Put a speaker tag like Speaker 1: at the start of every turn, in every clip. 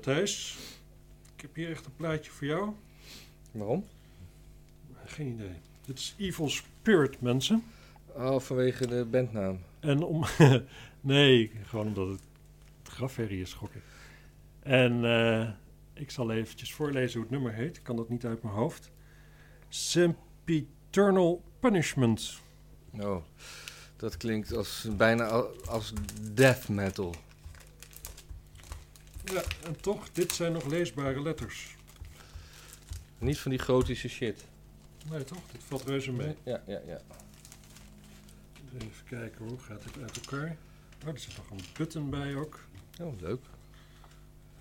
Speaker 1: Thijs, Nou, ik heb hier echt een plaatje voor jou.
Speaker 2: Waarom?
Speaker 1: Geen idee. Dit is Evil Spirit, mensen.
Speaker 2: Oh, vanwege de bandnaam.
Speaker 1: En om. nee, gewoon omdat het grafherrie is, gok ik. En eh, ik zal eventjes voorlezen hoe het nummer heet. Ik kan dat niet uit mijn hoofd. Sempiternal Punishment.
Speaker 2: Oh, dat klinkt als, bijna al- als death metal.
Speaker 1: Ja, en toch, dit zijn nog leesbare letters.
Speaker 2: Niet van die gotische shit.
Speaker 1: Nee, toch? Dit valt reuze mee.
Speaker 2: Ja, ja, ja.
Speaker 1: Even kijken, hoe gaat dit uit elkaar? Oh, er zit nog een button bij ook.
Speaker 2: Oh, leuk.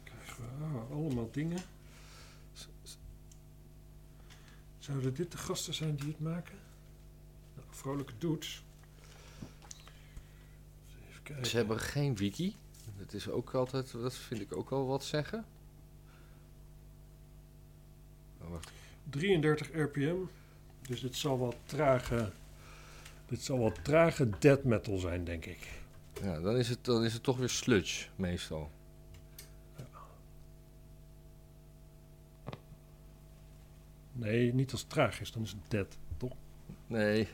Speaker 1: Krijgen we ah, allemaal dingen. Zouden dit de gasten zijn die het maken? Nou, vrolijke dudes. Even kijken.
Speaker 2: Ze hebben geen wiki. Dat is ook altijd, dat vind ik ook wel wat zeggen. Oh, wacht.
Speaker 1: 33 rpm. Dus dit zal wel trage... Dit zal wel trage death metal zijn, denk ik.
Speaker 2: Ja, dan is, het, dan is het toch weer sludge, meestal.
Speaker 1: Nee, niet als het traag is, dan is het dead, toch?
Speaker 2: Nee.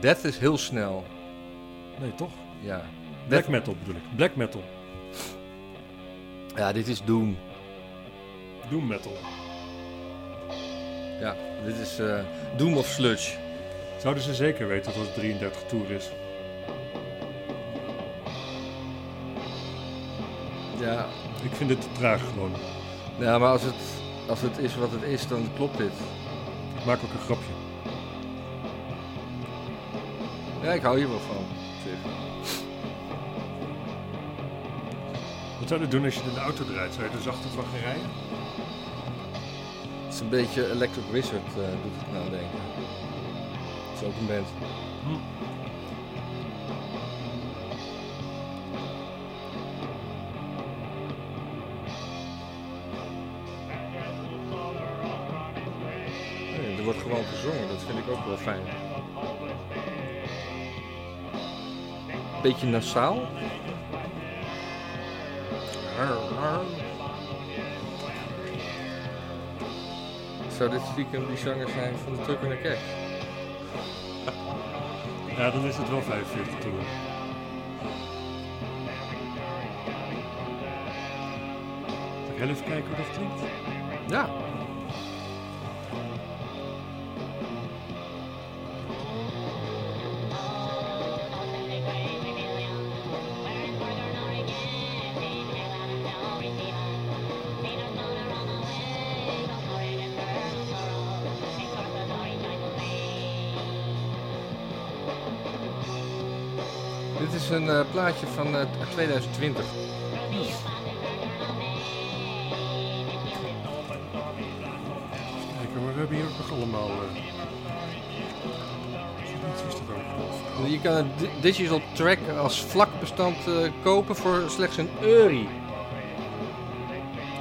Speaker 2: Death is heel snel.
Speaker 1: Nee, toch?
Speaker 2: Ja.
Speaker 1: Black metal bedoel ik. Black metal.
Speaker 2: Ja, dit is Doom.
Speaker 1: Doom metal.
Speaker 2: Ja, dit is eh, Doom of sludge.
Speaker 1: Zouden ze zeker weten dat het 33 toer is?
Speaker 2: Ja,
Speaker 1: Ik vind dit te traag gewoon.
Speaker 2: ja maar als het, als het is wat het is, dan klopt dit.
Speaker 1: Ik maak ook een grapje.
Speaker 2: Ja, ik hou hier wel van. op zich.
Speaker 1: Wat zou je doen als je in de auto draait? Zou je er zachter van gaan rijden?
Speaker 2: Het is een beetje Electric Wizard, eh, doet het nou denken. Het is ook een band. Nee, er wordt gewoon gezongen, dat vind ik ook wel fijn. Beetje nasaal. Zou dit stiekem die zanger zijn van de Tucker en Cash?
Speaker 1: Ja, dan is het wel 45 toer. Zal ik heel even kijken hoe dat klinkt?
Speaker 2: Ja. Dit is een eh, plaatje van eh, 2020.
Speaker 1: Even kijken, maar we hebben hier ook nog allemaal... eh, Wat is dat ook?
Speaker 2: Je kan een di- digital track als vlakbestand eh, kopen voor slechts een euro.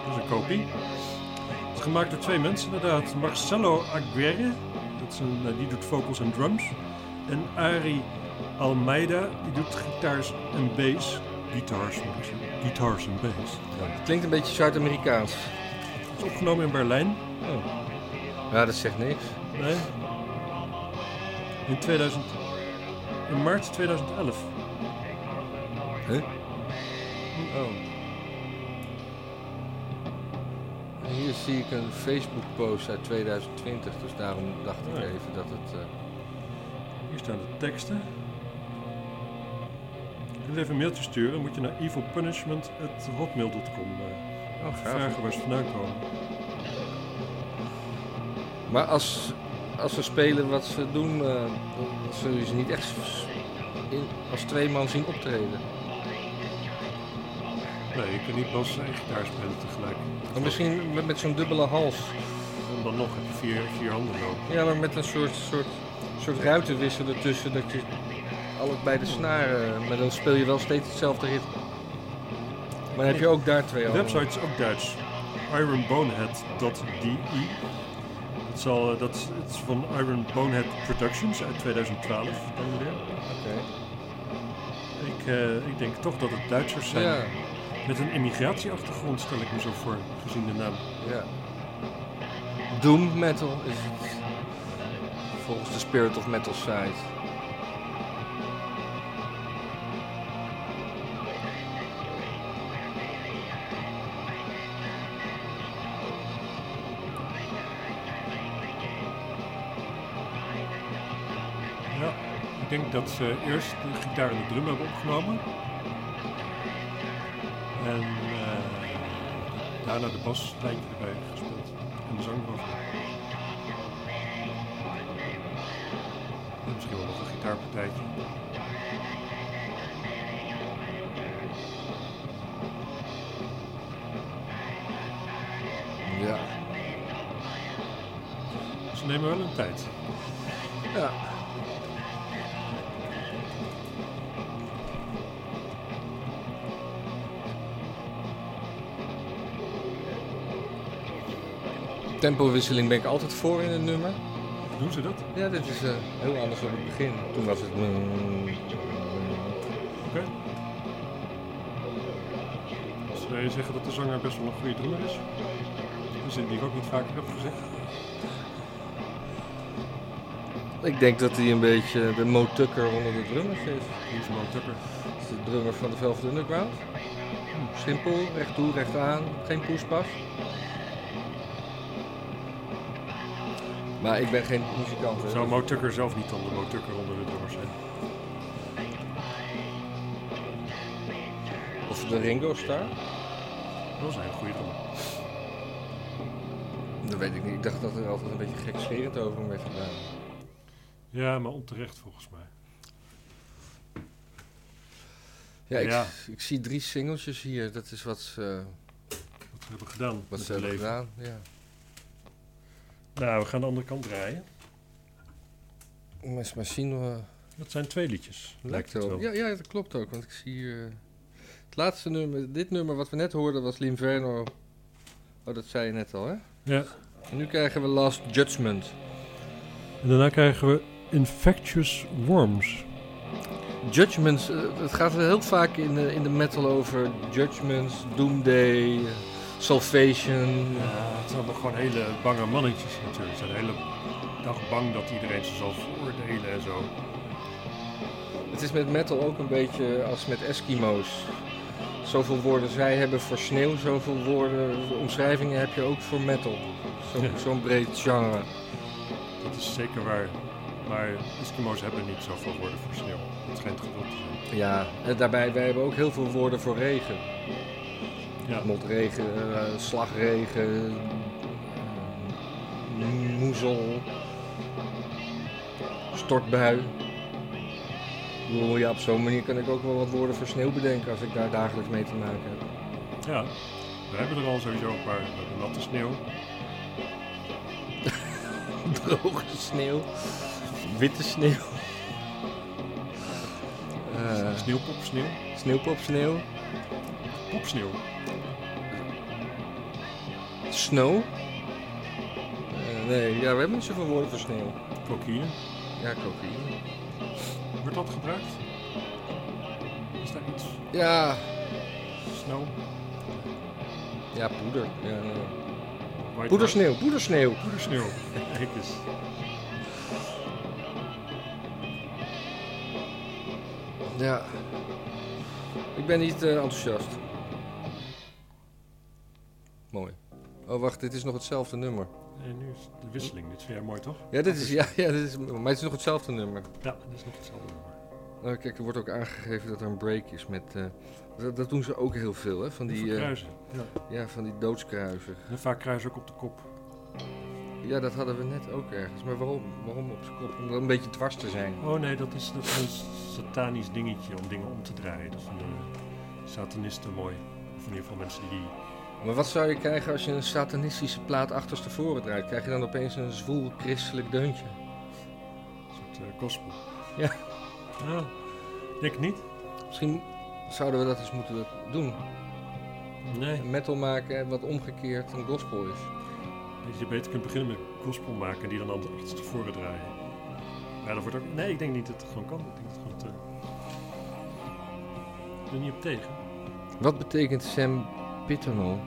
Speaker 1: Dat is een kopie. Het is gemaakt door twee mensen inderdaad. Marcelo Aguirre, dat is een, eh, die doet vocals en drums. En Ari Almeida, die doet gitaars en bass. Guitars, moet ik zeggen. Guitars en bass.
Speaker 2: Het klinkt een beetje Zuid-Amerikaans.
Speaker 1: Het is opgenomen in Berlijn.
Speaker 2: Oh. Ja, dat zegt niks.
Speaker 1: Nee. In 2000... In maart 2011.
Speaker 2: Huh? Oh. En Hier zie ik een Facebook post uit 2020, dus daarom dacht ik
Speaker 1: Ja.
Speaker 2: even dat het... eh,
Speaker 1: Hier staan de teksten. Je wil even een mailtje sturen, dan moet je naar evilpunishment.hotmail.com eh,
Speaker 2: Oh, gaaf.
Speaker 1: vragen waar ze vandaan komen.
Speaker 2: Maar als, als ze spelen wat ze doen, eh, dan zul je ze niet echt s- in, als twee man zien optreden.
Speaker 1: Nee, je kunt niet pas één gitaar spelen tegelijk.
Speaker 2: Maar misschien met, met zo'n dubbele hals.
Speaker 1: En dan nog heb je vier, vier handen nodig.
Speaker 2: Ja, maar met een soort, soort, soort ruitenwissel ertussen, dat je allebei de snaren, maar dan speel je wel steeds hetzelfde ritme. Maar dan heb je ook daar twee
Speaker 1: De
Speaker 2: handen.
Speaker 1: website is ook Duits. ironbonehead.de E. Het, zal, eh, dat, het is van Iron Bonehead Productions uit 2012 dan weer.
Speaker 2: Oké.
Speaker 1: Ik, eh, ik denk toch dat het Duitsers zijn.
Speaker 2: Ja,
Speaker 1: Met een immigratieachtergrond stel ik me zo voor, gezien de naam.
Speaker 2: Ja. Doom metal is het. Volgens de Spirit of Metal site.
Speaker 1: Ja, ik denk dat ze eerst de gitaar en de drum hebben opgenomen. En eh, daarna de baslijntje erbij gespeeld. En de zang erover. En misschien wel nog een gitaarpartijtje.
Speaker 2: Ja.
Speaker 1: Ze nemen wel hun tijd.
Speaker 2: Ja. Tempowisseling ben ik altijd voor in een nummer.
Speaker 1: Doen ze dat?
Speaker 2: Ja, dit is eh, heel anders dan het begin. Toen was het... mm,
Speaker 1: Oké. Als Dus wij zeggen dat de zanger best wel een goede drummer is. Een zin die ik ook niet vaker heb gezegd.
Speaker 2: Ik denk dat hij een beetje de Mo Tucker onder de drummers is.
Speaker 1: Die is Mo Tucker.
Speaker 2: Dat is de drummer van de Velvet Underground. Simpel, recht toe, recht aan, geen poespas. Maar ik ben geen muzikant. hè.
Speaker 1: Zou Mo Tucker zelf niet dan de Mo Tucker onder de drummers zijn?
Speaker 2: Of de Ringo Starr?
Speaker 1: Dat is een hele goede drummer.
Speaker 2: Dat weet ik niet. Ik dacht dat er altijd een beetje gekscherend over hem werd gedaan.
Speaker 1: Ja, maar onterecht volgens mij.
Speaker 2: Ja, ik,
Speaker 1: Ja.
Speaker 2: ik zie drie singeltjes hier. Dat is wat ze,
Speaker 1: Wat ze hebben gedaan
Speaker 2: wat
Speaker 1: met
Speaker 2: ze
Speaker 1: hun
Speaker 2: hebben
Speaker 1: leven.
Speaker 2: gedaan. Ja.
Speaker 1: Nou, we gaan de andere kant draaien.
Speaker 2: Miss Machine eh,
Speaker 1: Dat zijn twee liedjes.
Speaker 2: lijkt
Speaker 1: het
Speaker 2: wel. Ja, ja, dat klopt ook. Want ik zie hier... eh, het laatste nummer, dit nummer wat we net hoorden was L'Inverno. Oh, dat zei je net al, hè?
Speaker 1: Ja.
Speaker 2: En nu krijgen we Last Judgment.
Speaker 1: En daarna krijgen we Infectious Worms.
Speaker 2: Judgments, eh, het gaat wel heel vaak in de, in de metal over Judgments, Doomday, eh, Salvation.
Speaker 1: Ja, het zijn allemaal gewoon hele bange mannetjes natuurlijk. Ze zijn de hele dag bang dat iedereen ze zal veroordelen en zo.
Speaker 2: Het is met metal ook een beetje als met Eskimo's. Zoveel woorden zij hebben voor sneeuw, zoveel woorden, omschrijvingen heb je ook voor metal. Zo- Zo'n
Speaker 1: Ja.
Speaker 2: breed genre.
Speaker 1: Dat is zeker waar. Maar Eskimo's hebben niet zoveel woorden voor sneeuw. Het schijnt geduld te zijn.
Speaker 2: Ja, en daarbij, wij hebben ook heel veel woorden voor regen.
Speaker 1: Ja.
Speaker 2: Motregen, eh, slagregen, eh, moezel, stortbui. Ik bedoel, ja, op zo'n manier kan ik ook wel wat woorden voor sneeuw bedenken als ik daar dagelijks mee te maken heb.
Speaker 1: ja, we hebben er al sowieso een paar. We hebben natte sneeuw.
Speaker 2: Droge sneeuw, witte sneeuw, Eh
Speaker 1: Sneeuwpopsneeuw.
Speaker 2: sneeuwpopsneeuw,
Speaker 1: Popsneeuw.
Speaker 2: snow. Eh, nee, ja, we hebben niet zoveel woorden voor sneeuw.
Speaker 1: Cocaïne.
Speaker 2: Ja, cocaïne.
Speaker 1: Wordt dat gebruikt? Is daar iets?
Speaker 2: Ja,
Speaker 1: Snow?
Speaker 2: ja, poeder. Ja, nee.
Speaker 1: White
Speaker 2: Poedersneeuw, poedersneeuw.
Speaker 1: rice? Poedersneeuw. Kijk eens.
Speaker 2: Ja. Ik ben niet eh, enthousiast. Mooi. Oh, wacht, dit is nog hetzelfde nummer.
Speaker 1: En nu is de wisseling. Dit vind jij mooi, toch?
Speaker 2: Ja, dit is, ja, ja, dit is, maar het is nog hetzelfde nummer.
Speaker 1: Ja, dat is nog hetzelfde nummer.
Speaker 2: Nou, kijk, er wordt ook aangegeven dat er een break is met... eh, dat, dat doen ze ook heel veel, hè? Van die,
Speaker 1: Voor
Speaker 2: eh,
Speaker 1: kruisen. Ja.
Speaker 2: ja, van die doodskruiser.
Speaker 1: En vaak kruisen ook op de kop.
Speaker 2: Ja, dat hadden we net ook ergens. Maar waarom, waarom op z'n kop? Om er een beetje dwars te zijn.
Speaker 1: Oh nee, dat is, dat is een satanisch dingetje om dingen om te draaien. Dat vinden satanisten mooi. Of in ieder geval mensen die...
Speaker 2: Maar wat zou je krijgen als je een satanistische plaat achterstevoren draait? Krijg je dan opeens een zwoel christelijk deuntje?
Speaker 1: Een soort eh, gospel.
Speaker 2: Ja.
Speaker 1: Ja, denk Ah, ik niet.
Speaker 2: Misschien zouden we dat eens moeten doen.
Speaker 1: Nee.
Speaker 2: Een metal maken wat omgekeerd een gospel is.
Speaker 1: Dat je beter kunt beginnen met gospel maken en die dan altijd achterstevoren draaien. Ja, dat wordt ook... Nee, ik denk niet dat het gewoon kan. Ik denk dat het gewoon te... Ik ben niet op tegen.
Speaker 2: Wat betekent Sam Pitano?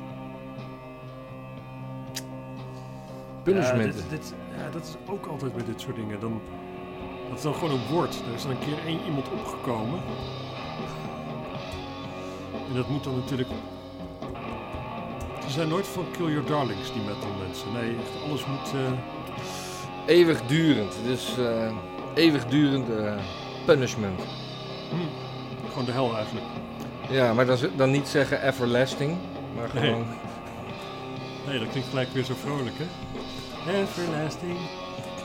Speaker 2: Punishment.
Speaker 1: Ja, dit, dit- ja, dat is ook altijd bij dit soort dingen. Dan, dat is dan gewoon een woord. Er is dan een keer één iemand opgekomen. En dat moet dan natuurlijk... Ze zijn nooit van Kill Your Darlings, die metal mensen. Nee, echt alles moet... eh,
Speaker 2: Eeuwigdurend. Dus eh eeuwigdurende eh, punishment.
Speaker 1: hm, gewoon de hel eigenlijk.
Speaker 2: Ja, maar dan, z- dan niet zeggen everlasting. Maar
Speaker 1: Nee.
Speaker 2: gewoon...
Speaker 1: Nee, dat klinkt gelijk weer zo vrolijk, hè? Everlasting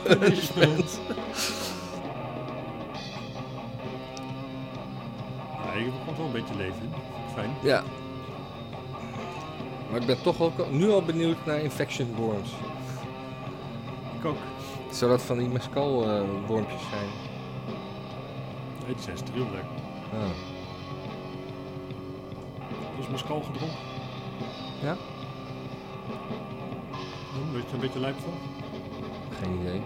Speaker 1: punishment. Nee, je komt wel een beetje leven in. Fijn.
Speaker 2: Ja. Maar ik ben toch ook al- nu al benieuwd naar infection worms.
Speaker 1: Ik ook.
Speaker 2: Zou dat van die mescal eh, wormpjes zijn?
Speaker 1: Nee, die zijn steriel leuk.
Speaker 2: Ah.
Speaker 1: Dat is mescal gedronken.
Speaker 2: Ja?
Speaker 1: Hm, Weet je een beetje lijp van?
Speaker 2: Geen idee.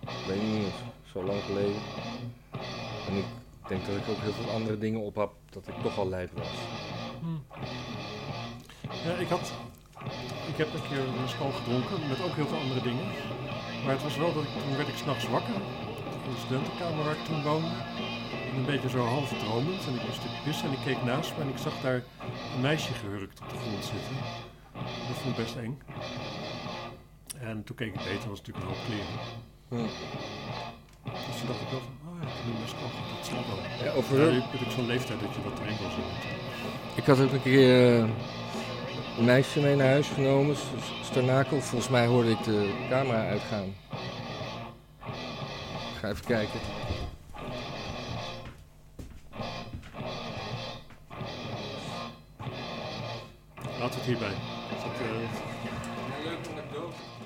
Speaker 2: Ik weet niet, of zo lang geleden. En ik denk dat ik ook heel veel andere dingen op had, dat ik toch al lijp was.
Speaker 1: Ja, ik had... Ik heb een keer mescal gedronken met ook heel veel andere dingen. Maar het was wel dat ik... Toen werd ik s'nachts wakker. In de studentenkamer waar ik toen woonde. En een beetje zo half dromend. En ik moest stuk pissen en ik keek naast me en ik zag daar een meisje gehurkt op de grond zitten. Dat vond ik best eng. En toen keek ik beter, was het natuurlijk een hoop kleren.
Speaker 2: Hm.
Speaker 1: Dus toen dacht ik wel van, oh ja, ik heb nu mescal, gehad, dat zal wel.
Speaker 2: Ja,
Speaker 1: Ja,
Speaker 2: over
Speaker 1: nu ben ik zo'n leeftijd dat je dat erin wil zien.
Speaker 2: Ik had ook een keer eh, een meisje mee naar huis genomen, S- Starnakel. Volgens mij hoorde ik de camera uitgaan. Ik ga even kijken.
Speaker 1: Laten we het hierbij. Is dat, eh,
Speaker 2: Leuke anekdote.